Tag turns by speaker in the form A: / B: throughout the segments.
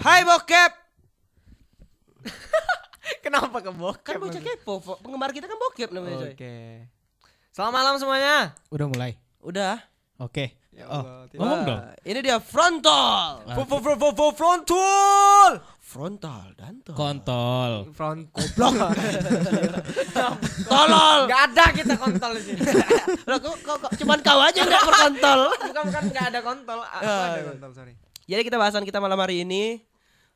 A: Hai bokep.
B: Kenapa ke bokep?
A: Kan bocah kepo, Fo. penggemar kita kan bokep namanya, coy.
B: Oke. Selamat malam semuanya.
C: Udah mulai.
A: Udah.
C: Oke.
B: Ya
C: oh,
B: Allah, tidak.
C: ngomong
A: Wah,
C: dong.
A: Ini dia frontal.
B: Fo- fo- fo- fo- fo- Frontal.
A: Frontal dan tol.
C: Kontol.
B: Front goblok.
A: Tolol.
B: Enggak ada kita kontol di sini.
A: Lah, kok, kok, kok cuman kau aja enggak berkontol.
B: Bukan bukan enggak ada kontol. Aku ada kontol, sorry.
A: Jadi kita bahasan kita malam hari ini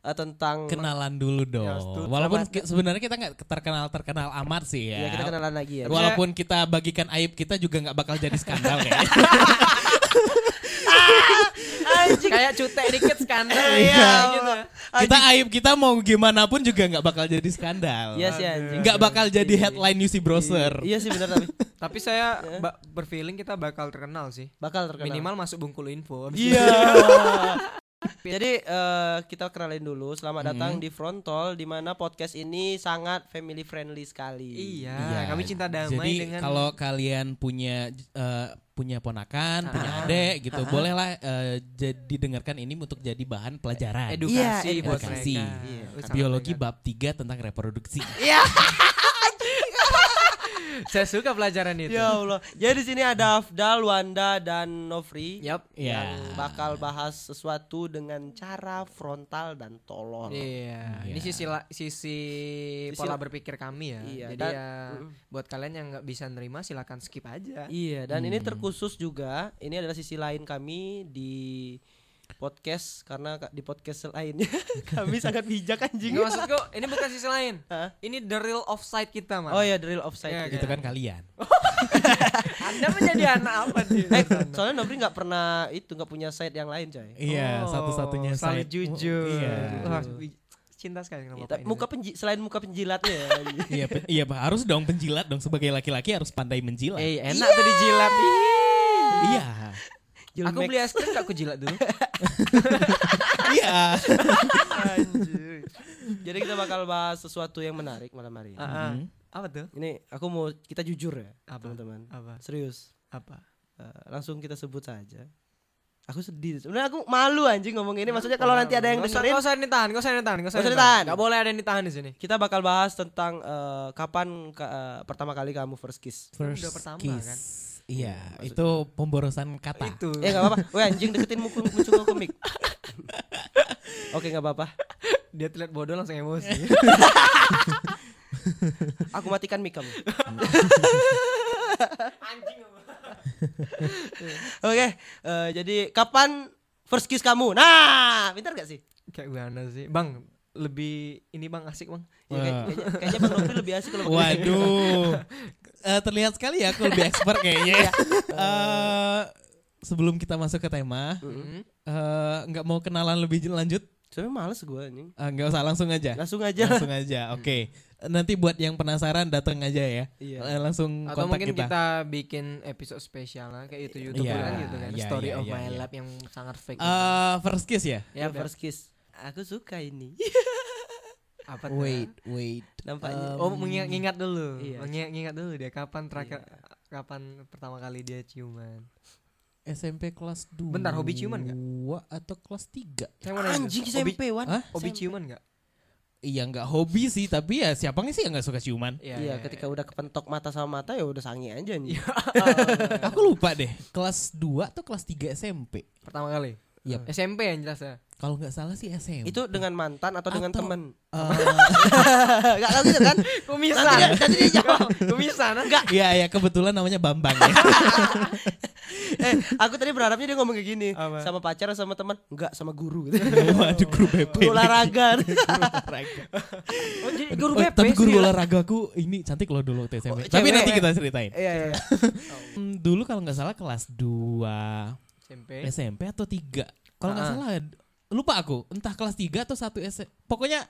A: eh, tentang
C: Kenalan dulu dong.
B: Ya, setuju.
C: Walaupun
B: Sama- Iya,
C: ke- sebenarnya kita nggak terkenal terkenal amat sih
A: Ya,
C: ya.
A: kita kenalan lagi ya.
C: Walaupun kita bagikan aib kita juga nggak bakal jadi skandal ya. kayaknya.
B: Kayak cutek dikit skandal
A: Iya,
B: gitu.
C: kita aib kita mau gimana pun juga nggak bakal jadi skandal.
A: Iya sih anjing.
C: Nggak bakal jadi
B: Iya,
C: headline UC browser.
A: Iya sih benar tapi
B: Tapi saya ba- berfeeling kita bakal terkenal sih.
A: bakal terkenal.
B: Minimal masuk bungkul info. Abis
C: Iya.
A: Jadi eh, kita kenalin dulu,
B: Mm-hmm.
A: selamat datang di Frontol di mana podcast ini sangat family friendly sekali.
B: Iya,
C: Iya,
B: kami cinta damai
C: Jadi
B: dengan
C: kalau kalian punya eh, punya ponakan, punya
B: Ah.
C: adik gitu, bolehlah eh, jadi dengarkan ini untuk jadi bahan pelajaran.
B: edukasi
A: Iya,
B: buat
C: edukasi.
B: mereka.
A: Iya.
B: Wih, sangat
C: Biologi
B: menarik.
C: bab 3 tentang reproduksi.
B: Saya suka pelajaran itu.
A: Ya Allah. Jadi di sini ada Afdal, Wanda dan Novri
B: Yap.
A: yang
C: Ya.
A: bakal bahas sesuatu dengan cara frontal dan tolol.
B: Iya, ini
C: Iya.
B: sisi la- sisi
A: Sisi
B: pola
A: la-
B: berpikir kami ya.
A: Iya,
B: Jadi
A: dan-
B: ya
A: Mm.
B: buat kalian yang nggak bisa nerima silakan skip aja.
A: Iya, dan ini terkhusus juga. Ini adalah sisi lain kami di podcast karena ka- di podcast lainnya kami sangat bijak anjing.
B: Enggak maksudku, ini bukan sisi lain.
A: Hah?
B: Ini the real offside kita, Mas.
A: Oh ya, drill offside.
B: Iya,
A: kita.
C: Itu kan kalian.
B: Anda menjadi anak apa dia?
A: Eh, soalnya Nobri nggak pernah itu nggak punya site yang lain coy.
C: Iya,
B: Oh,
C: satu-satunya
B: selalu
C: side-
B: jujur.
C: Iya.
B: Wah, wij- cinta sekali sama
A: Iya,
B: Bapak
A: tapi
B: ini.
A: muka penji, selain muka penjilatnya ya.
C: Iya, pe- iya Pak, harus dong penjilat dong sebagai laki-laki harus pandai menjilat.
B: Eh, enak tuh dijilat.
C: Iya.
A: Jilmek.
B: Aku beli es krim gak aku jilat dulu.
C: Iya.
B: Anjir.
A: Jadi kita bakal bahas sesuatu yang menarik malam hari ini.
B: Ah, ah.
C: Mhm.
B: Apa tuh?
A: Ini aku mau kita jujur ya,
B: Apa?
A: teman-teman.
B: Apa?
A: Serius.
B: Apa?
A: Eh, langsung kita sebut saja. Aku sedih. Sebenarnya aku malu anjing ngomong ini. Maksudnya kalau nanti ada
B: Ya,
A: yang
B: Nggak usah-
A: dengerin,
B: nggak usah ditahan, nggak usah ditahan, nggak usah
A: Nggak usah
B: ditahan.
A: ditahan.
B: Nggak boleh ada yang ditahan di sini.
A: kita bakal bahas tentang eh, kapan ka- eh, pertama kali kamu first kiss.
C: First
B: Udah pertama,
C: kiss.
B: kan? Iya.
C: Iya, itu pemborosan kata.
B: Itu.
A: Eh nggak apa-apa. Weh anjing deketin mukul muncung aku mic. Oke nggak apa-apa.
B: Dia terlihat bodoh langsung emosi.
A: Aku matikan mic kamu. Oke, eh, jadi kapan first kiss kamu? Nah, pintar gak sih?
B: Kayak gimana sih? Bang, lebih ini Bang asik, Bang.
A: Ya, kayak- kayaknya, kayaknya Bang Nopri lebih asik kalau gitu. pakai-
C: Waduh. Eh, terlihat sekali ya aku lebih expert
B: Iya.
C: kayaknya. Eh, sebelum kita masuk ke tema,
B: Mm-mm.
C: eh, nggak mau kenalan lebih lanjut?
A: Soalnya males gue anjing.
C: Eh, Nggak usah langsung aja.
A: Langsung
B: Ya.
A: aja. lah.
C: Langsung aja. Oke. Nanti buat yang penasaran datang aja ya.
A: Iya.
C: Eh, Langsung
B: Atau
C: kontak
B: mungkin
C: kita.
B: kita. bikin episode spesial lah kayak itu YouTube
C: Iya,
B: kan gitu kan.
C: iya,
B: Story
C: iya,
B: of
C: iya,
B: my
C: iya.
B: life yang sangat fake. gitu.
C: Eh, first kiss ya?
A: Ya,
B: Udah.
A: first kiss. Aku suka ini.
C: Iya,
B: Apa tuh?
C: Wait, wait.
A: Nampaknya.
B: Oh, mengingat dulu.
A: Iya.
B: Mengingat ngingat dulu dia kapan terakhir kapan pertama kali dia ciuman.
C: SMP kelas 2
B: Bentar, hobi ciuman nggak?
C: atau kelas 3
B: Saya mau nanya dulu.
A: anjing
B: Hobi-
A: SMP, Wan.
C: Hah?
B: Hobi
A: SMP.
B: ciuman enggak?
C: Iya nggak hobi sih Tapi ya siapa nggak sih yang nggak suka ciuman
A: Iya, ketika udah kepentok mata sama mata ya udah sangi aja nih.
C: Iya.
B: Oh, iya.
C: Aku lupa deh Kelas 2 atau kelas 3 SMP
B: pertama kali.
A: Iya.
C: Yap.
B: SMP yang jelas ya.
C: Kalau nggak salah sih SMP
A: Itu dengan mantan atau dengan
C: Atau-
A: temen?
C: Eh,
A: Gak tau gitu kan?
B: Kumisan.
A: Nanti dia- nanti dia jawab.
B: Kumisan. Enggak.
C: Iya ya kebetulan namanya Bambang ya
A: eh, aku tadi berharapnya dia ngomong kayak gini.
B: Apa?
A: Sama pacar atau sama teman? Enggak, sama guru. Gitu.
C: Waduh guru BP
A: Guru
C: Iya,
A: olahraga.
C: Olahraga.
B: Oh, jadi guru
C: Oh,
B: BP.
C: Tapi guru
B: serius.
C: olahraga aku Ini cantik loh dulu waktu SMP
A: Oh,
C: Tapi
A: cewek
C: nanti
A: ya?
C: kita ceritain
A: Iya, iya. iya.
C: Hmm, Dulu kalau nggak salah kelas 2
B: SMP.
C: SMP atau 3 Kalau
B: Eh.
C: nggak
B: Ah.
C: salah Lupa aku Entah kelas 3 atau 1 SMP Pokoknya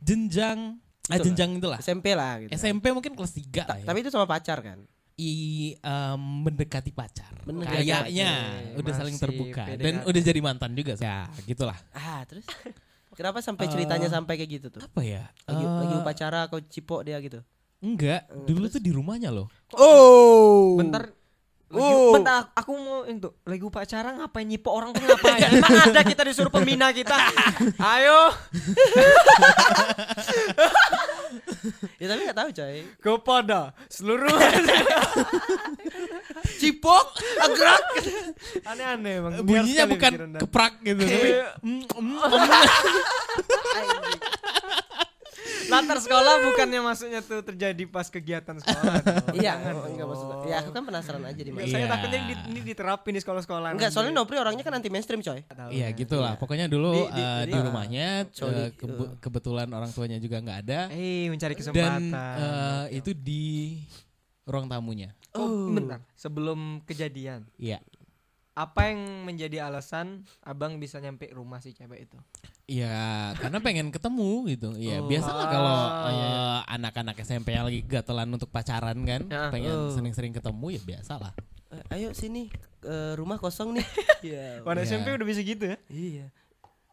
C: jenjang ah,
A: Itulah.
C: Jenjang itulah
A: SMP lah gitu.
C: SMP mungkin kelas 3 lah
A: Ta-
C: ya.
A: Tapi itu sama pacar kan?
C: I, em, mendekati pacar.
A: Mendekati.
C: Kayaknya
B: Oke,
C: udah saling
B: masih
C: terbuka
B: PDKT.
C: dan udah jadi mantan juga. Ya, gitulah.
A: Ah, terus kenapa sampai ceritanya
C: Eh,
A: sampai kayak gitu tuh?
C: Apa ya?
A: Lagi,
C: Eh,
A: lagi upacara kau cipok dia gitu.
C: Enggak,
A: Eh,
C: dulu
A: terus?
C: tuh di rumahnya loh.
A: Oh.
B: Bentar Lagi,
A: Uh.
B: bentar, aku- aku mau itu lagi upacara ngapain nyipo orang tuh ngapain? Emang ada kita disuruh pembina kita. Ayo,
A: ya tapi nggak tahu coy
B: kepada seluruh
C: Cipok, gerak.
B: aneh-aneh emang. liar
C: Bunyinya
B: sekali
C: bukan
B: pikiran Anda.
C: keprak gitu. tapi,
B: Iya.
C: mm, mm,
B: latar sekolah bukannya maksudnya tuh terjadi pas kegiatan sekolah. dong.
A: iya
B: Jangan
A: enggak
B: dong.
A: maksud ya aku kan penasaran aja di
B: Enggak,
A: mana
B: Saya
C: Iya.
B: takutnya di- ini diterapin di sekolah-sekolah.
A: enggak
B: nanti.
A: soalnya Nopri orangnya kan anti mainstream coy
B: Nggak tahu ya.
C: Iya gitu lah. Pokoknya dulu
A: Di- di-
C: eh,
A: di-
C: di, rumahnya
A: Sorry,
C: eh,
A: eh.
C: kebe- kebetulan orang tuanya juga nggak ada
B: Eh, mencari kesempatan.
C: dan eh, itu di ruang tamunya.
B: oh, bentar. Sebelum kejadian,
C: Iya.
B: apa yang menjadi alasan abang bisa nyampe rumah si cewek itu?
C: Iya, karena pengen ketemu gitu. Iya,
B: Oh.
C: biasalah kalau
B: Ah,
C: eh,
B: iya,
C: anak-anak SMP yang lagi gatelan untuk pacaran kan,
B: Ya,
C: pengen
A: oh.
C: sering-sering ketemu ya biasalah.
A: Eh, ayo sini eh, rumah kosong nih iya
B: Pada
C: Iya.
B: SMP udah bisa gitu ya?
A: iya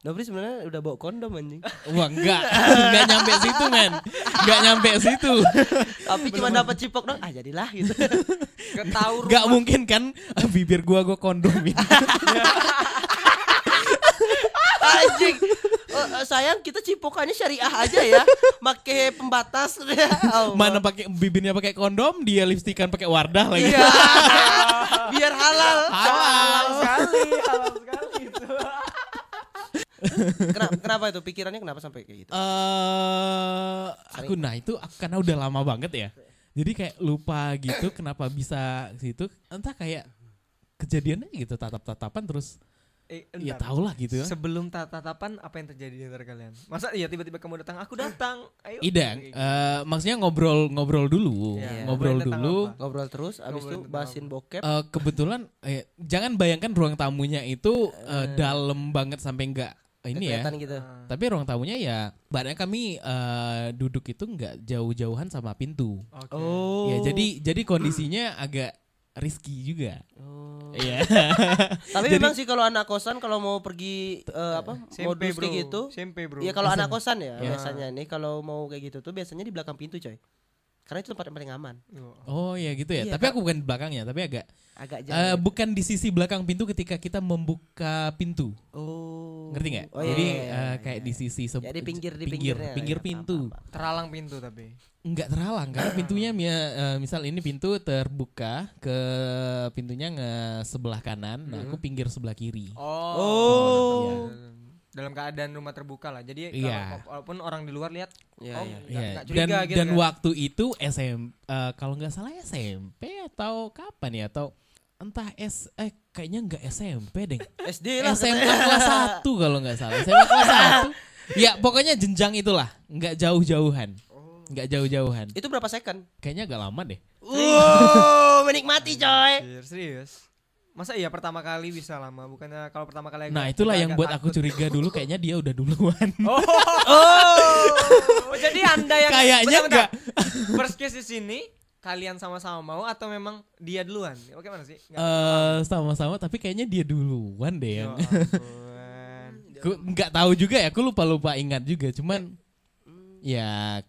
A: Nopri sebenarnya udah bawa kondom anjing
C: Wah, enggak, enggak nyampe situ, men. Enggak nyampe situ.
A: tapi cuma dapat cipok dong ah jadilah gitu
B: Ketahu
C: Enggak mungkin kan bibir gua gua kondomin.
A: anjing Eh, eh, sayang kita cipokannya syariah aja ya make pembatas Ya Allah.
C: Mana pakai bibirnya pakai kondom, dia lipstikan pakai wardah lagi.
A: Iya. biar halal
C: Halal.
B: sekali, halal sekali itu.
A: kenapa kenapa itu pikirannya kenapa sampai kayak gitu
C: eh aku nah itu aku karena udah lama banget ya. Jadi kayak lupa gitu kenapa bisa ke situ entah kayak kejadiannya gitu tatap-tatapan terus
B: Eh,
C: ya
B: entar.
C: tau lah gitu.
B: Sebelum tat- tatapan apa yang terjadi di antara kalian? Masa iya tiba-tiba kamu datang, aku datang. Ayo.
C: Idang,
B: Kayak gitu.
C: eh maksudnya ngobrol-ngobrol dulu,
B: Iya.
C: ngobrol
B: Ngobrolin tentang
C: dulu.
B: apa?
A: ngobrol terus abis
B: Ngobrolin
A: itu
B: tentang
A: bahasin bokep
C: Eh, kebetulan eh, jangan bayangkan ruang tamunya itu eh, dalam banget sampai enggak ini ya.
A: kelihatan gitu
C: Tapi ruang tamunya ya, badannya kami eh, duduk itu nggak jauh-jauhan sama pintu.
B: Oke.
A: oh
C: Ya jadi jadi kondisinya agak risky juga.
A: Oh.
C: Iya.
A: tapi memang sih kalau anak kosan kalau mau pergi eh, apa
B: SMP,
A: modus
B: bro.
A: kayak gitu
B: SMP, bro.
C: kan?
A: Iya kalau anak kosan ya
C: Ya.
A: biasanya nih kalau mau kayak gitu tuh biasanya di belakang pintu coy. Karena itu tempat yang paling aman.
B: Oh.
C: Oh ya gitu ya.
A: Iya,
C: tapi
A: Kak.
C: aku bukan di belakangnya, tapi agak
A: Agak
C: eh,
A: jauh.
C: bukan di sisi belakang pintu ketika kita membuka pintu.
A: oh.
C: Ngerti nggak?
A: Oh, iya,
C: Jadi
A: iya, iya,
C: eh, kayak
A: iya.
C: di sisi seb-
A: Ya, di pinggir di
C: pinggir,
A: pinggirnya.
C: pinggir
A: Iya,
C: pintu.
A: paham, paham,
B: Terhalang pintu tapi.
C: Enggak terhalang karena pintunya mia- eh, misal ini pintu terbuka ke pintunya nge sebelah kanan,
A: Hmm.
C: nah aku pinggir sebelah kiri.
A: Oh.
B: Iya, Dalam keadaan rumah terbuka lah. Jadi
C: Iya.
B: kalau- walaupun orang di luar lihat,
A: paham. Iya,
B: oh,
A: iya.
B: nggak-
C: Iya,
B: nggak
C: dan
B: curiga gitu
C: dan
B: kan.
C: waktu itu SM eh, kalau nggak salah SMP atau kapan ya atau entah S eh kayaknya nggak SMP deh.
A: SD lah.
C: SMA kelas 1 kalau nggak salah. SMA kelas 1. Ya, pokoknya jenjang itulah, nggak jauh-jauhan. Nggak jauh-jauhan.
A: Itu berapa second?
C: Kayaknya agak lama deh.
A: Wow, menikmati
C: Eh.
A: coy.
B: Anjir, serius. Masa iya pertama kali bisa lama? Bukannya kalau pertama kali
C: Nah,
B: agak-
C: itulah
B: agak-
C: yang
B: agak
C: buat aku
B: takut.
C: curiga dulu kayaknya dia udah duluan.
B: Oh, oh. jadi anda yang
C: Kayaknya
B: Bentar, bentar. First case di sini kalian sama-sama mau atau memang dia duluan? Oke mana sih? Nggak-
C: Eh, sama-sama tapi kayaknya dia duluan deh yang.
B: Ya ampun.
C: Ku- nggak tahu juga ya, aku lupa-lupa ingat juga, cuman ya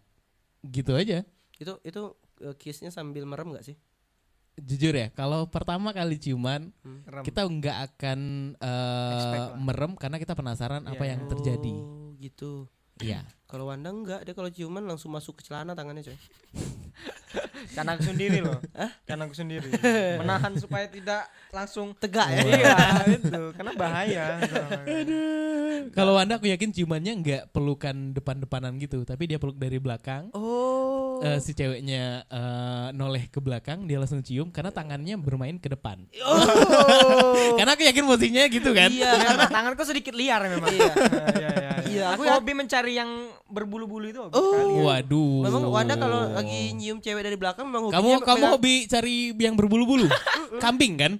C: gitu aja.
A: Itu itu eh, kiss-nya sambil merem gak sih?
C: Jujur ya, kalau pertama kali ciuman
B: Rem.
C: kita nggak akan eh,
B: Expect lah.
C: merem karena kita penasaran apa
B: Iya.
C: yang terjadi.
A: Oh, gitu.
C: Iya.
A: Kalau Wanda enggak, dia kalau ciuman langsung masuk ke celana tangannya coy.
B: Kan aku sendiri loh. Kan aku sendiri. Menahan supaya tidak langsung
A: Tegak ya.
B: Iya, itu. Karena bahaya.
C: Kalau Wanda aku yakin ciumannya nggak pelukan depan-depanan gitu, tapi dia peluk dari belakang.
A: Oh.
C: Eh, si ceweknya eh, noleh ke belakang, dia langsung cium karena tangannya bermain ke depan. karena aku yakin posisinya gitu kan.
A: Oh. Iya,
B: Memang, tanganku sedikit liar memang. Iya. Iya, iya.
A: Iya,
B: Aku
A: aku ya-
B: hobi mencari yang berbulu-bulu itu. hobi
A: Oh.
B: sekali.
C: Waduh.
A: Memang Wanda kalau lagi nyium cewek dari belakang memang
C: kamu
A: hobinya
C: kamu
A: pegang-
C: hobi cari yang berbulu-bulu, kambing kan?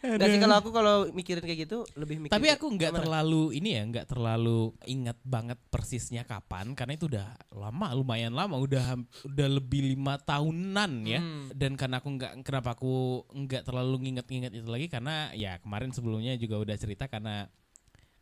A: Gak sih kalau aku kalau mikirin kayak gitu lebih mikir.
C: Tapi aku nggak
A: Gimana?
C: terlalu ini ya, nggak terlalu ingat banget persisnya kapan karena itu udah lama, lumayan lama, udah hamp- udah lebih lima tahunan ya. Dan karena aku nggak kenapa aku nggak terlalu nginget-nginget itu lagi karena ya kemarin sebelumnya juga udah cerita karena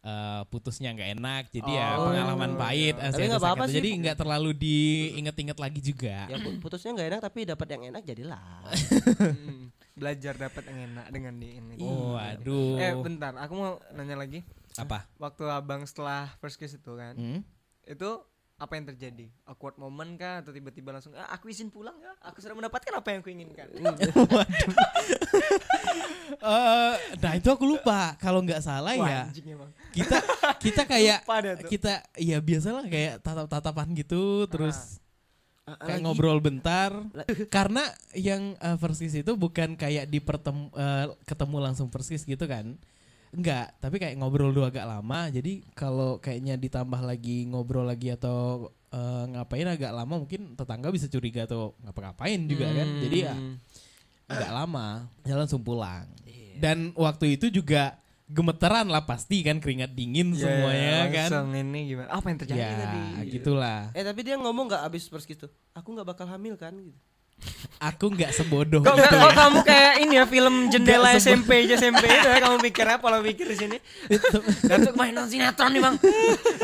C: eh, putusnya nggak enak, jadi ya
B: Oh,
C: pengalaman
B: iya.
C: pahit. eh,
A: Tapi
C: saya
A: nggak apa-apa
C: rasakan.
A: sih.
C: Jadi nggak terlalu diinget-inget lagi juga.
A: Ya pu- putusnya nggak enak tapi dapat yang enak jadilah.
B: Hmm. belajar dapat yang enak dengan di ini.
C: Waduh.
B: Eh bentar, aku mau nanya lagi.
C: Apa?
B: Waktu abang setelah first kiss itu kan,
C: Hmm?
B: itu apa yang terjadi? Awkward moment kah atau tiba-tiba langsung ah, aku izin pulang ya? Aku sudah mendapatkan apa yang kuinginkan.
C: Waduh. Eh, nah itu aku lupa. Kalau nggak salah ya,
B: Wah, anjing emang.
C: kita kita kayak
B: Lupa deh tuh.
C: kita ya biasalah kayak tatap-tatapan gitu, terus
A: Ah,
C: kayak ngobrol bentar. Karena yang eh, first kiss itu bukan kayak di pertem- eh, ketemu langsung first kiss gitu kan? Enggak, tapi kayak ngobrol dulu agak lama. Jadi kalau kayaknya ditambah lagi ngobrol lagi atau eh, ngapain agak lama mungkin tetangga bisa curiga atau ngapa-ngapain juga kan. Jadi ya nggak lama dia langsung pulang dan waktu itu juga gemeteran lah pasti kan keringat dingin
B: Ya,
C: semuanya kan
B: langsung ini gimana? Apa yang terjadi
C: ya
A: gitu,
B: tadi?
C: gitulah
A: Eh tapi dia ngomong nggak abis first kiss tuh. Aku nggak bakal hamil kan gitu.
C: aku nggak sebodoh
B: Kok,
C: itu ya.
B: kok kamu kayak ini ya film jendela
C: Gitu Nggak
B: SMP aja SMP itu ya kamu pikir apa lo pikir di sini? Datuk main nonton sinetron nih bang.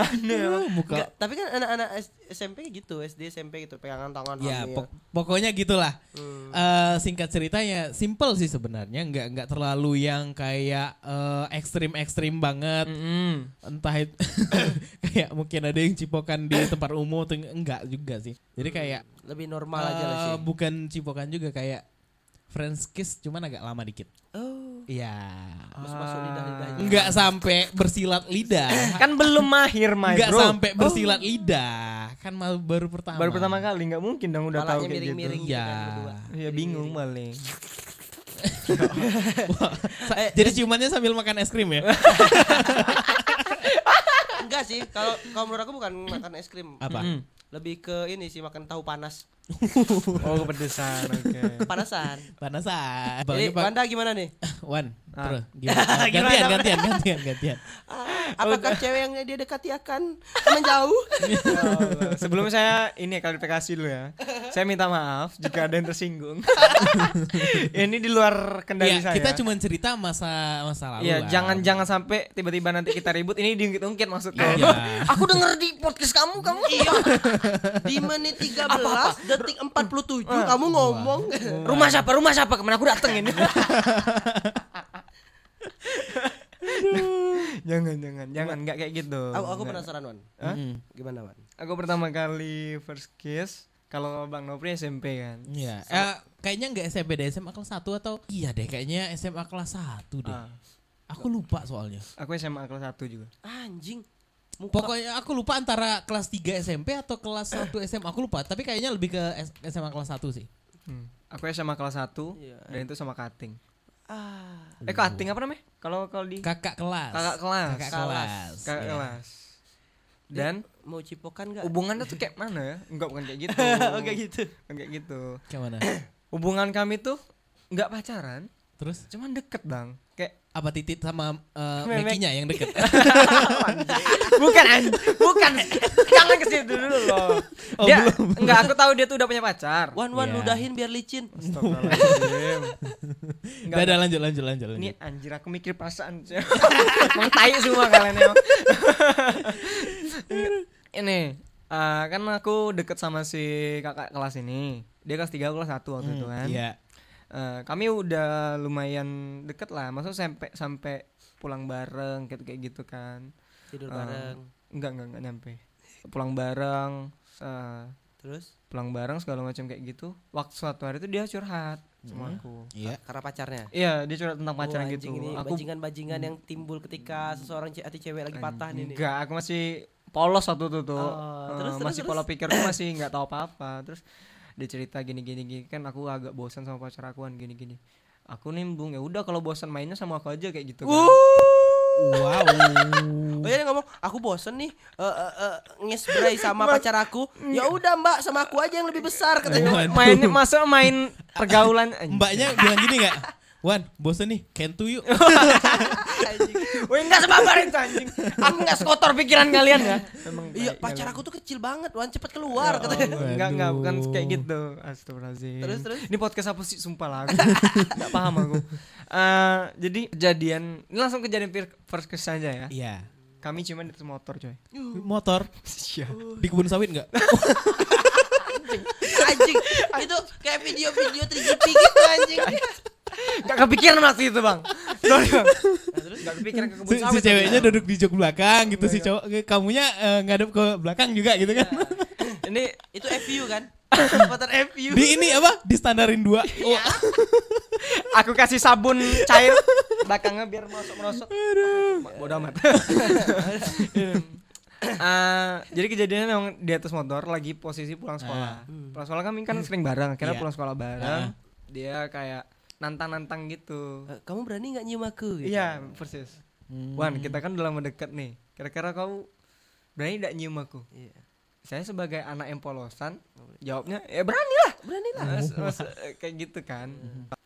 B: Aneh ya, emang.
C: muka
A: Nggak, tapi kan anak-anak S- SMP gitu, SD SMP gitu pegangan tangan
C: ya
A: hamil.
C: pok- pokoknya gitulah
A: Hmm.
C: Eh, singkat ceritanya simple sih sebenarnya nggak nggak terlalu yang kayak ekstrim ekstrim banget
A: Hmm.
C: entah itu kayak mungkin ada yang cipokan di tempat umum atau enggak juga sih jadi kayak
A: Lebih normal Hmm. aja lah
C: Eh,
A: sih.
C: Bukan cipokan juga kayak French kiss cuman agak lama dikit.
A: Oh,
C: Iya.
A: masuk masuk lidah lidahnya.
C: Enggak sampai bersilat lidah.
B: Kan belum mahir my
C: Enggak
B: bro. Oh.
C: sampai bersilat lidah. Kan mal- baru pertama.
B: Baru pertama kan? kali nggak mungkin dong udah tahu
A: Palanya
B: kayak
A: miring-miring Iya.
B: gitu.
A: gitu
C: Iya.
A: kan berdua.
B: Ya bingung paling.
C: Wah, sa-
B: Eh,
A: Eh,
C: Jadi ciumannya sambil makan es krim ya?
A: Enggak sih, kalau kalau menurut aku bukan makan es krim.
C: Apa?
A: Lebih ke ini sih makan tahu panas.
B: Oh kepedesan oke.
A: Panasan. Jadi
C: Panasan. Bagi Pak-
A: Wanda gimana nih?
C: Wan,
B: Ah.
C: terus gimana? gantian, gantian, gantian, gantian.
A: Ah, Apakah cewek yang dia dekati akan menjauh?
B: Ya Allah. Sebelum saya ini klarifikasi dulu ya. Saya minta maaf jika ada yang tersinggung. ini di luar kendali
C: Ya,
B: saya.
C: kita cuman cerita masa masa lalu.
B: Iya,
C: lah.
B: jangan jangan sampai tiba-tiba nanti kita ribut. Ini diungkit-ungkit maksudnya.
C: Iya.
B: Aku denger di podcast kamu, kamu iya.
A: Di menit 13 detik 47 kamu ngomong.
B: Ah. Rumah siapa? Rumah siapa? Kemana aku dateng ini? jangan jangan jangan
C: Iya.
B: nggak kayak gitu.
A: Aku, aku
B: Nggak.
A: penasaran Wan.
B: Hah?
A: Gimana Wan?
B: Aku pertama kali first kiss kalau Bang Nopri SMP kan.
C: Iya. Eh, kayaknya nggak SMP deh, SMA kelas 1 atau iya deh kayaknya SMA kelas 1 deh.
B: Ah,
C: Aku lupa soalnya.
B: aku SMA kelas 1 juga.
A: Anjing. Muka
C: Pokoknya aku lupa antara kelas 3 SMP atau kelas 1 SMA. Aku lupa, tapi kayaknya lebih ke S- SMA kelas 1 sih.
B: Hmm. Aku SMA kelas 1
A: Iya.
B: dan itu sama kating.
A: ah.
B: Eh kating apa namanya? Kalau kalau di
C: Kakak kelas.
B: Kakak kelas.
C: Kakak
A: Kelas.
C: kelas.
B: kakak
C: Iya.
B: kelas. Dan
A: mau cipokan enggak?
B: hubungannya tuh kayak mana ya? Enggak bukan kayak gitu.
A: Oke gitu.
B: Kayak gitu.
C: Kayak mana?
B: Hubungan kami tuh enggak pacaran,
C: Terus
B: cuman deket, Bang. Kayak
C: apa titit sama uh,
B: Memek.
C: Mekinya yang deket?
B: bukan an- bukan jangan ke situ dulu loh.
C: Oh,
B: dia enggak aku tahu dia tuh udah punya pacar.
A: Wan Wan
C: Iya.
A: ludahin biar licin.
B: Ah. Astagfirullahaladzim. Enggak,
C: Enggak ada lanjut lanjut lanjut
B: Ini
C: lanjut.
B: anjir aku mikir perasaan Emang tai semua kalian emang Ini eh, Kan aku deket sama si kakak kelas ini Dia kelas 3 aku kelas 1 waktu itu kan
C: Iya.
B: Eh, Kami udah lumayan deket lah Maksudnya sampai sampai pulang bareng kayak, kayak gitu kan
A: Tidur
B: Eh,
A: bareng.
B: Enggak enggak enggak nyampe Pulang bareng eh,
A: Terus
B: Pulang bareng segala macam kayak gitu Waktu suatu hari itu dia curhat sama aku
C: Iya.
A: karena pacarnya.
B: Iya dia curhat tentang
A: Oh,
B: pacaran
A: Hmm. anjing
B: gitu
A: Ini
B: Aku
A: bajingan-bajingan yang timbul ketika seseorang ce- hati cewek lagi patah nih. nih.
B: Enggak, aku masih polos waktu itu tuh.
A: Oh,
B: Eh,
A: terus, terus,
B: masih
A: terus.
B: pola pikirku masih nggak tahu apa-apa. Terus dia cerita gini-gini gini kan aku agak bosan sama pacar akuan gini-gini. Aku nimbung ya udah kalau bosan mainnya sama aku aja kayak gitu. kan.
C: Wow.
A: Oh iya dia ngomong, aku bosen nih eh, eh, eh, ngesbray sama pacar aku. Ya udah Mbak, sama aku aja yang lebih besar katanya.
C: Waduh.
B: Mainnya masa main pergaulan anjing.
C: Mbaknya bilang gini nggak? Wan, bosen nih, kentu yuk.
A: Anjing.
B: Weh enggak sebabar itu anjing. Aku enggak sekotor pikiran kalian ya. Emang
A: Iya, pacar aku tuh kecil banget, Wan cepet keluar katanya.
B: Enggak, enggak,
C: Waduh.
B: bukan kayak gitu. Astagfirullahaladzim.
A: Terus, terus?
B: Ini podcast apa sih? Sumpah lah aku. Enggak paham aku. Eh, jadi kejadian, ini langsung kejadian fir- first kiss aja ya.
C: Iya.
B: Kami cuman di atas motor coy.
C: Motor
B: Iya.
C: di kebun sawit nggak?
A: Anjing, itu kayak video-video 3GP gitu anjing.
B: Gak kepikiran waktu itu bang Sorry bang Gak kepikiran ke kebun
C: si, si
B: sawit Iya,
C: ceweknya duduk di jok belakang gitu si cowok kamunya eh, ngadep ke belakang juga gitu kan
B: Ini
A: Itu FU kan? Kesempatan FU.
B: Iya.
C: di ini apa di standarin dua oh,
B: aku kasih sabun cair belakangnya biar merosot-merosot Ma- bodo amat Eh, jadi kejadiannya memang di atas motor lagi posisi pulang sekolah pulang sekolah kami kan sering bareng akhirnya
C: Iya.
B: pulang sekolah bareng
C: Ah.
B: dia kayak nantang-nantang gitu
A: Eh, Kamu berani nggak nyium aku? gitu?
B: iya persis Wan kita kan udah lama deket nih kira-kira kau berani tidak nyium aku
A: Iya.
B: saya sebagai anak yang polosan jawabnya ya berani lah
A: Berani lah.
B: Mas- mas- kayak gitu kan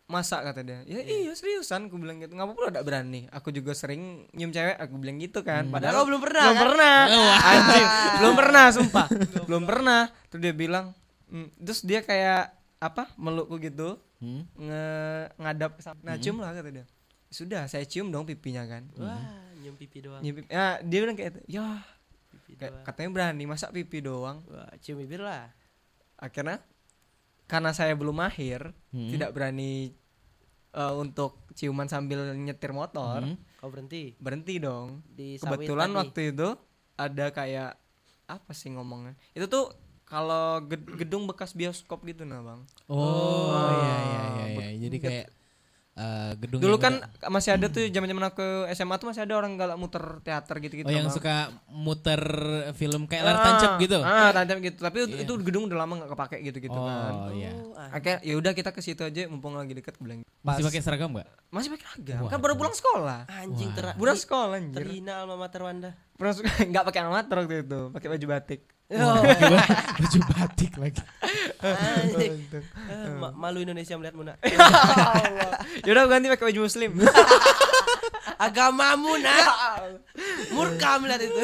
B: masa kata dia ya iya seriusan aku bilang gitu nggak apa-apa udah berani aku juga sering nyium cewek aku bilang gitu kan padahal
A: Padahal kau belum pernah.
B: belum
A: kan?
B: pernah
C: Wah.
B: anjing belum pernah sumpah belum pernah terus dia bilang mm, terus dia kayak apa melukku gitu
C: Hmm.
B: nge ngadap ke sana. nah cium lah kata dia sudah saya cium dong pipinya kan
A: Wah, nyium pipi doang.
B: Nyium pipi- ya, dia bilang kayak itu ya
A: Pipi
C: Gitu
B: kayak-
A: doang.
B: katanya berani masa pipi doang
A: Wah, cium bibir lah.
B: akhirnya karena saya belum mahir
C: Hmm.
B: tidak berani eh, untuk ciuman sambil nyetir motor
C: Hmm.
A: Kau berhenti
B: berhenti dong
A: di sawit
B: kebetulan
A: tadi.
B: waktu itu ada kayak apa sih ngomongnya itu tuh kalau ged- gedung bekas bioskop gitu nah bang
C: oh iya iya iya, iya.
B: Bet-
C: jadi kayak eh, gedung
B: dulu
C: yang
B: kan
C: udah-
B: masih ada tuh zaman zaman aku SMA tuh masih ada orang galak muter teater gitu gitu
C: oh yang
B: bang.
C: suka muter film kayak layar tancap
B: Ah,
C: gitu Iya.
B: ah tancap gitu tapi itu- itu gedung udah lama nggak kepake gitu gitu
C: oh
B: kan
C: iya
A: Oh, ah.
B: akhirnya ya udah kita ke situ aja mumpung lagi deket gue bilang
C: masih pakai seragam nggak
B: masih pakai ragam
C: Wah,
B: kan baru pulang sekolah
A: Anjing ter
B: Budak sekolah anjir.
A: terhina alma mater Wanda.
B: Pernah suka enggak pakai amater waktu itu, pakai baju batik.
A: Oh,
C: Coba Gitu. baju batik lagi
A: anjing. Eh, ma- malu Indonesia melihatmu nak.
B: Ya udah ganti pakai baju muslim.
A: Agamamu nak. Murka melihat itu.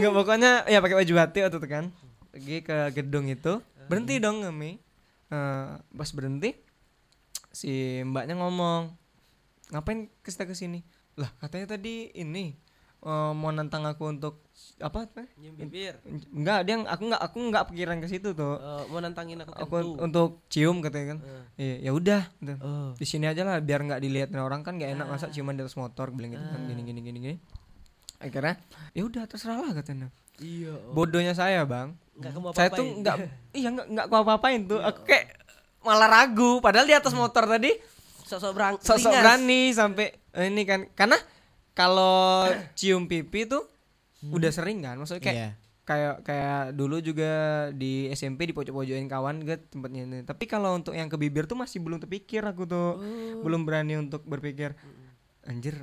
B: Enggak pokoknya ya pakai baju batik waktu itu kan. Pergi ke gedung itu, berhenti
C: Hmm.
B: dong kami. Eh, pas berhenti si mbaknya ngomong, "Ngapain ke kita ke sini?" Lah, katanya tadi ini eh, mau nantang aku untuk apa?
A: Nyium bibir.
B: Enggak, dia aku enggak aku enggak pikiran ke situ tuh.
A: Eh, mau nantangin aku
B: Aku
A: tentu.
B: untuk cium katanya kan.
A: Eh.
B: Iya, ya udah. gitu.
A: Oh. Ah.
B: di sini aja lah biar nggak dilihatin orang kan nggak enak masa ciuman di atas motor bilang gitu kan gini gini gini gini akhirnya ya udah terserah lah katanya
A: Iya.
B: bodohnya saya bang
A: Nggak kamu
B: saya
A: apa-apain. Iya.
B: tuh nggak iya nggak nggak apa apain tuh aku kayak malah ragu padahal di
A: Hmm.
B: atas motor tadi
A: Sosok berang.
B: sosok
A: beringas.
B: berani sampai eh, ini kan karena kalau cium pipi tuh udah sering kan maksudnya kayak
C: Iya.
B: kayak kayak dulu juga di SMP di pojok-pojokin kawan gitu tempatnya ini. Tapi kalau untuk yang ke bibir tuh masih belum terpikir aku tuh.
A: Oh.
B: Belum berani untuk berpikir anjir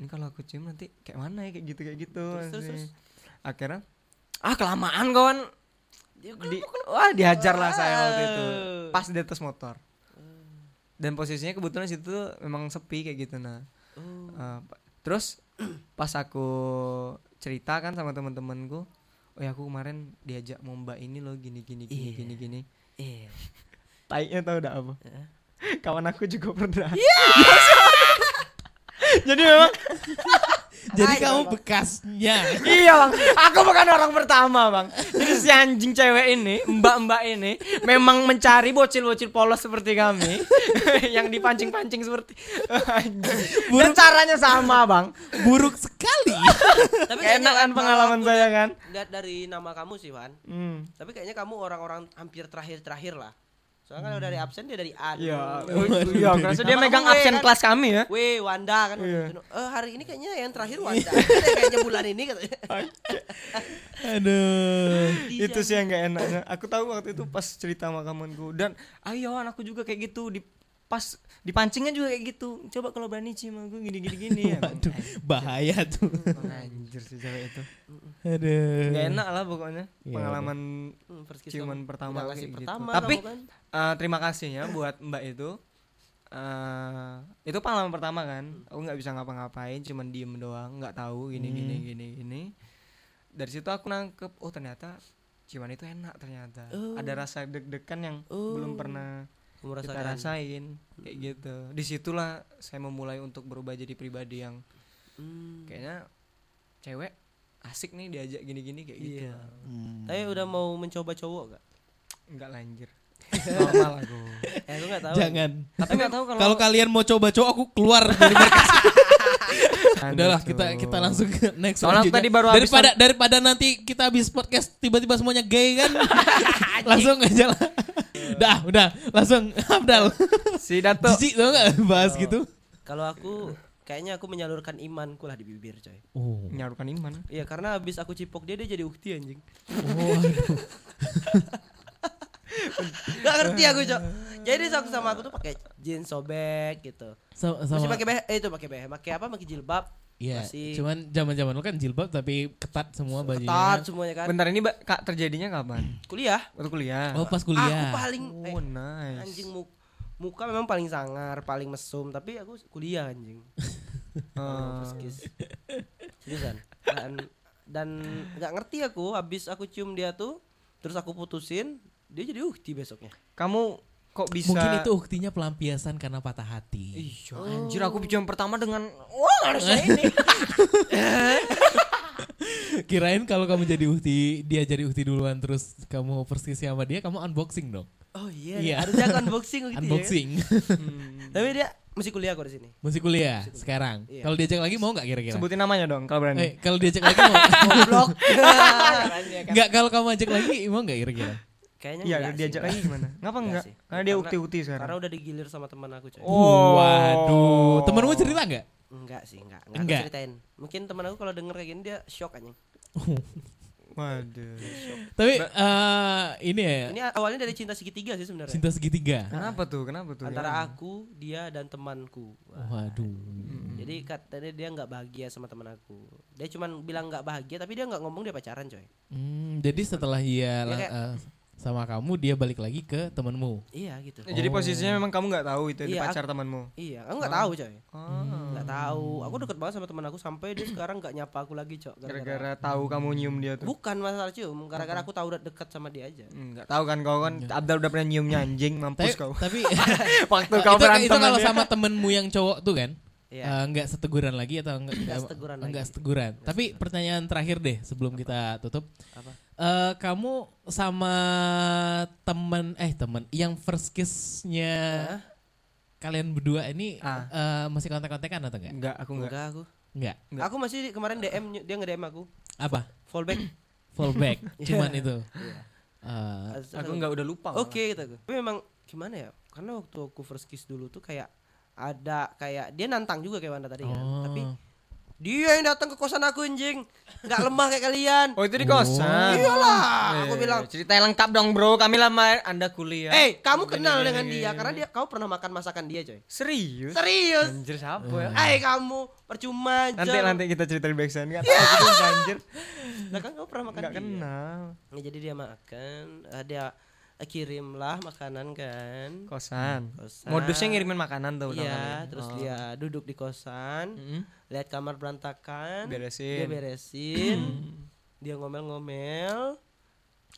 B: ini kalau aku cium nanti kayak mana ya kayak gitu kayak gitu.
A: terus,
B: anjir."
A: terus.
B: Akhirnya ah kelamaan kawan.
A: kan
B: Di, wah dihajar lah saya waktu itu. Pas di atas motor. Dan posisinya kebetulan situ tuh memang sepi kayak gitu nah.
A: Oh.
B: Uh, pa- terus pas aku cerita kan sama teman-temanku, oh ya aku kemarin diajak mau mbak ini loh gini gini gini
A: Iya.
B: gini gini.
A: Iya.
B: Taiknya tau udah apa?
A: Heeh.
B: Kawan aku juga pernah.
A: Iya!
B: Jadi memang
C: jadi kamu bekasnya
B: iya bang, aku bukan orang pertama bang. Jadi si anjing cewek ini, mbak-mbak ini memang mencari bocil-bocil polos seperti kami yang dipancing-pancing seperti anjing. Dan caranya sama bang.
C: buruk sekali
A: Tapi
B: Enak kan pengalaman saya kan.
A: Lihat dari nama kamu sih, Wan.
B: Hmm.
A: Tapi kayaknya kamu orang-orang hampir terakhir-terakhir lah. Soalnya kan udah dari absen dia dari A.
B: Hmm. Iya,
A: dulu.
B: iya, kerasa dia
A: Sama
B: megang
A: gue
B: absen
A: kan.
B: kelas kami ya.
A: Weh, Wanda kan.
B: Iya.
A: Eh, hari ini kayaknya yang terakhir Wanda. kayaknya bulan ini katanya.
C: aduh
B: itu sih yang gak enaknya. Aku tahu waktu itu pas cerita sama kamanku dan "Ah, ayo anakku juga kayak gitu di pas dipancingnya juga kayak gitu. Coba kalau berani cium aku gini gini gini ya.
C: Waduh, bahaya tuh.
B: Emang Anjir sih cewek itu.
C: Aduh.
B: Gak enak lah pokoknya
C: Iya,
B: pengalaman
A: Hmm, first kiss
B: ciuman
A: kamu.
B: pertama
A: Udah
B: kayak
A: kasih
B: gitu.
A: pertama
B: Tapi
A: kamu kan.
B: eh, terima kasihnya buat Mbak itu. Eh, itu pengalaman pertama kan. Aku nggak bisa ngapa-ngapain, cuman diem doang, nggak tahu gini gini gini gini. Dari situ aku nangkep, oh ternyata ciuman itu enak ternyata. Ada rasa deg-degan yang belum pernah
A: Kamu
B: kita
A: rasakan.
B: rasain kayak gitu. Disitulah saya memulai untuk berubah jadi pribadi yang
A: Hmm.
B: kayaknya cewek asik nih
C: Hmm.
B: diajak gini-gini kayak gitu.
A: Iya. Tapi udah mau mencoba cowok gak?
B: Enggak lanjir. normal aku
A: Eh, aku nggak tahu.
C: Jangan.
B: tapi nggak tahu kalau
C: Kalau kalian mau coba-coba aku keluar dari markas. Udahlah
B: Aduh,
C: kita
B: tuh.
C: kita langsung ke
B: Soalnya
C: next
B: aku
C: selanjutnya.
B: tadi baru habis kan?
C: daripada daripada nanti kita habis podcast tiba-tiba semuanya gay kan. langsung aja lah. Dah, udah, langsung Abdal.
B: si Dato
C: Jijik tau gak bahas gitu?
A: Kalau aku kayaknya aku menyalurkan imanku lah di bibir, coy.
C: Oh.
B: nyarukan iman
A: Iya, karena habis aku cipok dia dia jadi ukti anjing.
C: Oh,
A: Gak ngerti aku, Cok. Jadi aku sama aku tuh pakai jeans sobek gitu.
C: Sama,
A: Masih
C: sama
A: pakai beh eh, itu pakai beh, pakai apa? Pakai jilbab.
C: Iya,
A: Masih
C: cuman zaman-zaman lu kan jilbab tapi ketat semua bajunya.
A: ketat semuanya kan.
B: bentar ini Mbak, kak terjadinya kapan
A: Kuliah.
B: waktu kuliah
C: Oh, pas
A: Aku
C: kuliah.
A: paling eh,
B: oh nice
A: anjing mu- muka memang paling sangar, paling mesum, tapi aku kuliah anjing.
B: Eh,
A: Skis. Seriusan. Dan dan nggak ngerti aku habis aku cium dia tuh terus aku putusin dia jadi uhti besoknya.
B: kamu kok bisa
C: Mungkin itu uktinya pelampiasan karena patah hati.
B: Iya, anjir aku cium pertama dengan wah
A: Nah,
B: harusnya ini
C: Kirain kalau kamu jadi ukti, dia jadi ukti duluan terus kamu persis sama dia, kamu unboxing dong.
A: Oh iya,
C: Iya.
A: harusnya aku unboxing gitu ya.
C: Unboxing.
A: Tapi dia masih kuliah kok di sini.
C: Masih kuliah sekarang.
A: Iya.
C: Kalau diajak lagi mau nggak kira-kira?
B: sebutin namanya dong kalau
C: Iya. Eh,
B: berani
C: kalau diajak lagi mau
A: Goblok. Iya kan?
C: nggak kalau kamu ajak lagi mau nggak kira-kira?
A: Kayaknya
B: iya
A: enggak sih,
B: diajak
A: enggak.
B: lagi gimana ngapa
A: Enggak
B: enggak
A: sih.
B: karena dia
A: Karena-
B: ukti-ukti
A: Karena
B: sekarang
A: udah digilir sama teman aku, coy.
B: Oh.
C: Waduh, temanmu cerita nggak?
A: Enggak sih, enggak. Enggak,
C: Enggak.
A: Aku ceritain. Mungkin teman aku kalau denger kayak gini dia shock anjing.
B: waduh
C: Tapi eh ini ya
A: Ini ya? awalnya dari cinta segitiga sih sebenarnya.
C: cinta segitiga.
B: kenapa tuh kenapa tuh Ya.
A: Antara aku, dia dan temanku. Wah.
C: Waduh.
A: Jadi katanya dia nggak bahagia sama teman aku. Dia cuman bilang nggak bahagia tapi dia nggak ngomong dia pacaran coy.
C: Hmm, jadi setelah dia
A: Ya,
C: lang-
A: kayak-
C: eh, sama kamu dia balik lagi ke temanmu.
A: Iya gitu.
B: Ya, Jadi
C: Oh.
B: posisinya memang kamu nggak tahu itu di
A: Iya,
B: pacar temanmu.
A: Iya, aku nggak tahu coy.
B: Oh,
A: Nggak tahu. Aku deket banget sama teman aku sampai dia sekarang nggak nyapa aku lagi coy.
B: gara-gara tahu kamu nyium dia tuh.
A: Bukan masalah cium, gara-gara aku tahu udah dekat sama dia aja.
B: Enggak tahu kan kau kan Abdal udah pernah nyiumnya anjing
C: Iya. Tapi,
B: mampus kau.
C: tapi
B: Waktu
C: itu,
B: kau berantem
C: itu kalau
B: dia.
C: sama temenmu yang cowok tuh kan?
A: Iya.
C: eh, enggak seteguran lagi atau enggak
A: Enggak seteguran
C: Eh, enggak
A: lagi.
C: seteguran. Tapi pertanyaan terakhir deh sebelum kita tutup.
A: Apa?
C: Eh, kamu sama temen eh temen yang first kiss-nya kalian berdua ini
B: Ah.
C: eh, masih kontak-kontakan
A: Ya. Hmm.
C: atau enggak?
B: Enggak, aku enggak.
A: Enggak aku.
C: Enggak.
B: Nggak.
A: Aku masih kemarin DM ny- dia nge-DM aku.
C: Apa?
A: Fallback.
C: Fallback. Cuman itu.
A: Iya.
C: Eh,
B: Aku enggak udah lupa. malah.
A: Oke gitu aku. Tapi memang gimana ya? Karena waktu aku first kiss dulu tuh kayak ada kayak dia nantang juga kayak Wanda tadi kan.
C: Oh.
A: Tapi dia yang datang ke kosan aku anjing. Nggak lemah kayak kalian.
B: Oh, itu di kosan.
A: Iyalah, Iya. aku
B: Eh,
A: bilang.
B: ceritanya lengkap dong, Bro. Kami lama Anda kuliah.
A: Eh, kamu
B: Iya,
A: kenal dengan dia karena dia kau pernah makan masakan dia, coy.
B: serius?
A: Serius.
B: Anjir siapa ya?
A: Eh, kamu percuma aja.
B: Nanti nanti kita cerita di backstage enggak
A: Iya.
B: tahu gitu anjir.
A: Lah kan kamu pernah makan
B: Enggak
A: dia.
B: kenal.
A: Nah, jadi dia makan, eh, dia eh, kirimlah makanan kan.
B: Kosan.
A: Kosan.
B: Modusnya ngirimin makanan tuh
A: Iya,
B: Oh.
A: terus dia duduk di kosan,
B: Mm-mm.
A: lihat kamar berantakan,
B: Hmm? Beresin.
A: Kan? dia beresin, dia ngomel-ngomel,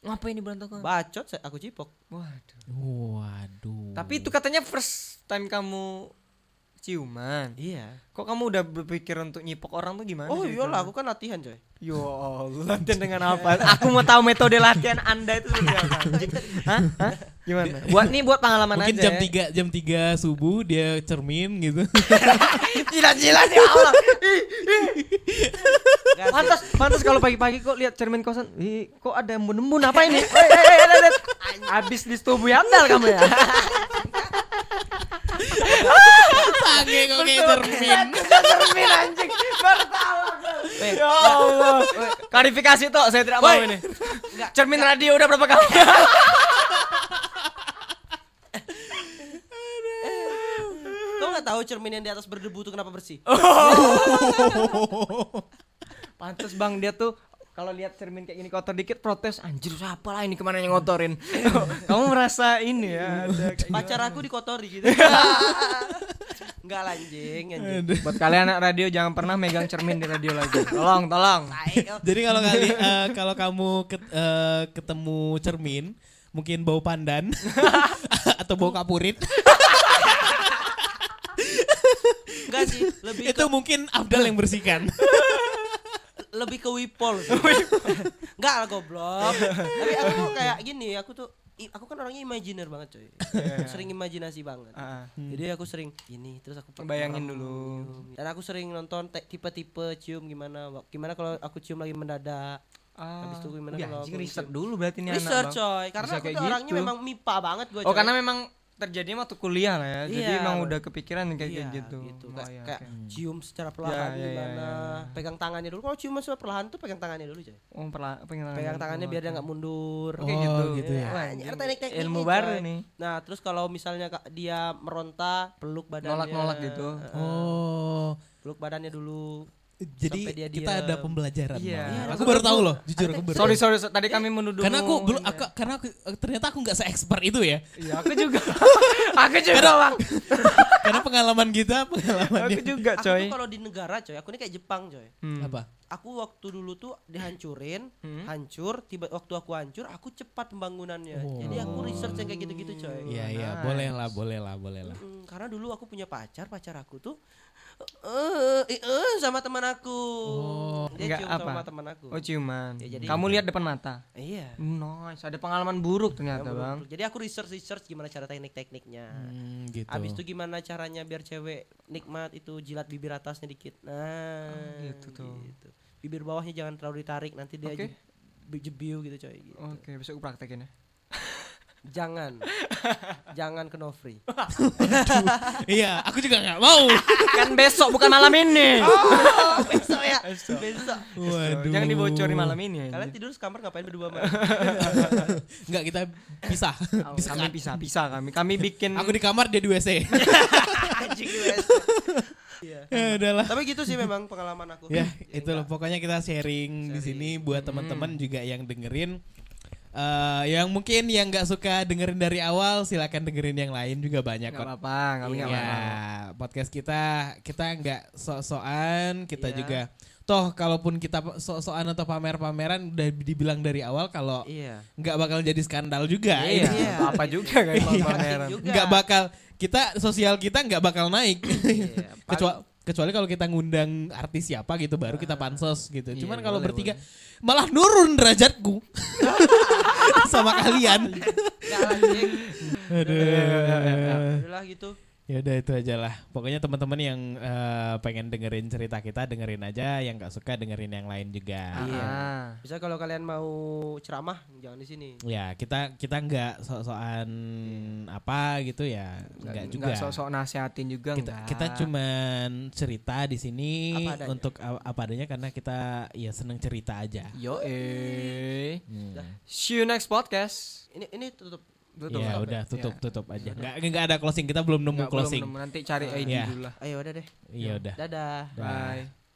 B: Ngapain di berantakan?
A: bacot, saya- aku cipok.
B: Waduh.
C: Eh, waduh.
B: Tapi itu katanya first time kamu ciuman.
A: Iya.
B: Kok kamu udah berpikir untuk nyipok orang tuh gimana?
A: Oh
B: sih?
A: iyalah, aku kan latihan coy.
B: Ya Allah, latihan dengan apa? Aku mau tahu metode latihan Anda itu seperti apa. anjing. Hah? Hah? Gimana? Buat nih buat pengalaman
C: Mungkin
B: aja. ya?
C: jam 3 jam 3 subuh dia cermin gitu.
B: Gila-gila ya Allah.
A: Nggak sih.
B: Pantas, pantas kalau pagi-pagi kok lihat cermin kosan, Ih, kok ada embun-embun apa ini? Eh, eh, eh, eh, eh, eh. Habis disetubui Anda kamu ya.
C: Sange kok kayak
B: Iya,
C: cermin.
B: cermin anjing baru tahu ya Allah klarifikasi toh saya tidak mau ini cermin radio udah berapa kali
A: Kau nggak tahu cermin yang di atas berdebu itu kenapa bersih?
B: Oh, pantas bang dia tuh kalau lihat cermin kayak gini kotor dikit protes anjir siapa lah ini kemana yang ngotorin kamu merasa ini ya ada kayak
A: Pacar aku dikotori gitu. Enggak lanjing, anjing.
B: gitu. buat kalian anak radio jangan pernah megang cermin di radio lagi tolong tolong
C: Jadi kalau kali eh, kalau kamu ket- eh, ketemu cermin, mungkin bau pandan atau bau kapurit.
A: Enggak sih, lebih
C: itu mungkin Abdal yang bersihkan.
A: lebih ke wipol. Enggak lah goblok. Tapi aku tuh kayak gini, aku tuh i- aku kan orangnya imajiner banget coy sering imajinasi banget
B: Iya. Ah, ah.
A: jadi aku sering ini terus aku
B: Bayangin
A: merem,
B: dulu.
A: cium. dan aku sering nonton te- tipe-tipe cium gimana wa- gimana kalau aku cium lagi mendadak Habis itu gimana
B: Wih, Ah. iya,
A: kalau
B: anjing
A: aku
B: riset
A: cium?
B: dulu berarti ini
A: research
B: anak bang.
A: coy karena
B: Bisa
A: aku
B: kayak
A: tuh orangnya
B: gitu.
A: memang mipa banget gue
B: Oh karena memang terjadinya waktu kuliah lah ya. Jadi
A: Iya,
B: emang
A: Bang.
B: udah kepikiran kayak
A: Iya,
B: kayak gitu.
A: Kayak,
B: Oh, iya,
A: kayak
B: oke.
A: cium secara perlahan
B: Iya, iya, iya,
A: gimana pegang tangannya dulu kalau ciuman secara perlahan tuh pegang tangannya dulu coy
B: Oh, perla- pengen
A: pegang tangannya biar dia nggak mundur
B: Oke
C: Oh,
B: gitu.
C: gitu ya.
B: Wah,
A: Anjir,
B: anjing.
A: teknik-teknik
B: ilmu
A: nih,
B: baru
A: coy.
B: nih.
A: nah terus kalau misalnya Kak, dia meronta peluk badannya
B: Nolak-nolak gitu.
A: Eh,
C: Oh,
A: peluk badannya dulu
C: jadi
A: Sampai dia
C: kita
A: diam.
C: ada pembelajaran.
B: Iya.
C: Bang.
B: Iya,
C: Aku
A: aku-
C: baru tahu
A: aku-
C: loh, jujur aku baru.
B: Sorry
C: tahu.
B: sorry, sorry. Iya. tadi kami menuduh.
C: Karena aku belum aku, karena aku ternyata aku nggak se-expert itu ya.
B: Iya, aku juga. aku juga, Bang.
C: karena pengalaman kita pengalaman
B: Aku
C: dia-
B: juga,
A: aku
B: coy.
A: tuh kalau di negara coy aku ini kayak Jepang coy
B: Hmm.
C: apa?
A: aku waktu dulu tuh dihancurin,
B: Hmm.
A: hancur, tiba waktu aku hancur aku cepat pembangunannya.
C: Oh.
A: Jadi aku research yang kayak gitu-gitu coy.
C: Iya iya,
B: nice.
C: boleh lah, boleh lah, boleh
B: Iya.
C: lah.
A: Mm, karena dulu aku punya pacar, pacar aku tuh eh eh, eh, sama teman aku.
B: Nggak
A: Dia cium
B: Oh, apa?
A: sama teman aku.
B: Oh, ciuman.
A: Ya, jadi-
B: Kamu lihat depan mata.
A: Iya.
B: Nice, ada pengalaman buruk ternyata, Bang.
A: Jadi aku research research gimana cara teknik-tekniknya.
C: Hmm, gitu.
A: Abis itu gimana caranya biar cewek nikmat itu jilat bibir atasnya dikit. Nah,
B: gitu tuh.
A: gitu. Bibir bawahnya jangan terlalu ditarik nanti dia
B: Oke.
A: je- jebiu gitu coy. Gitu.
B: Oke, besok aku praktekin ya.
A: Jangan. Jangan ke Nofri.
C: iya, aku juga nggak mau.
B: kan besok bukan malam ini.
A: Oh, besok ya. Besok.
C: Waduh.
B: Jangan dibocorin malam ini.
A: Kalian tidur sekamar ngapain berdua Mbak?
C: Nggak kita pisah.
B: bisa kami pisah, pisah kami. Kami bikin
C: Aku di kamar dia di WC.
A: Anjing US. Iya.
C: ya udahlah.
A: Tapi gitu sih memang pengalaman aku. Iya,
C: Ya,
A: Yang
C: itu loh pokoknya kita sharing, Hmm. di sini buat teman-teman juga yang dengerin Eh, yang mungkin yang nggak suka dengerin dari awal silakan dengerin yang lain juga banyak
B: Gak
C: kok.
B: apa-apa, kami
C: Ya,
B: gak apa-apa.
C: podcast kita kita nggak sok-sokan, kita
A: Iya.
C: juga toh kalaupun kita sok-sokan atau pamer-pameran udah dibilang dari awal kalau
A: Iya.
C: nggak bakal jadi skandal juga.
B: Iya,
A: Iya.
B: apa juga kan
A: Iya.
B: pameran.
A: Juga.
C: Nggak bakal kita sosial kita nggak bakal naik.
A: Iya, paling-
C: kecuali kecuali kalau kita ngundang artis siapa gitu baru kita pansos gitu.
B: Iya,
C: Cuman kalau
B: boleh,
C: bertiga malah nurun derajatku sama kalian.
A: Ya, anjing. Iya,
C: Aduh.
A: Udah gitu.
C: Ya udah itu aja lah. Pokoknya teman-teman yang eh, pengen dengerin cerita kita dengerin aja, yang nggak suka dengerin yang lain juga.
A: Iya.
B: Ah.
A: Bisa kalau kalian mau ceramah jangan di sini.
C: Ya kita kita nggak sok-sokan apa gitu ya, nggak juga.
B: Nggak sok-sok nasihatin juga
C: kita
B: nggak.
C: kita cuman cerita di sini
A: Apa adanya.
C: untuk a- apa adanya karena kita ya seneng cerita aja.
B: Yo eh.
C: Hmm.
B: See you next podcast.
A: Ini ini tutup.
B: Tutup,
C: ya
B: tutup
C: udah
B: ya.
C: tutup tutup aja. Nggak nggak ada closing kita belum
B: Nggak,
C: nemu
B: belum,
C: closing.
B: belum. nanti cari ID
C: Iya.
B: dulu lah.
A: Ayo udah deh.
C: Iya udah.
A: Dadah.
C: Dah.
B: Bye.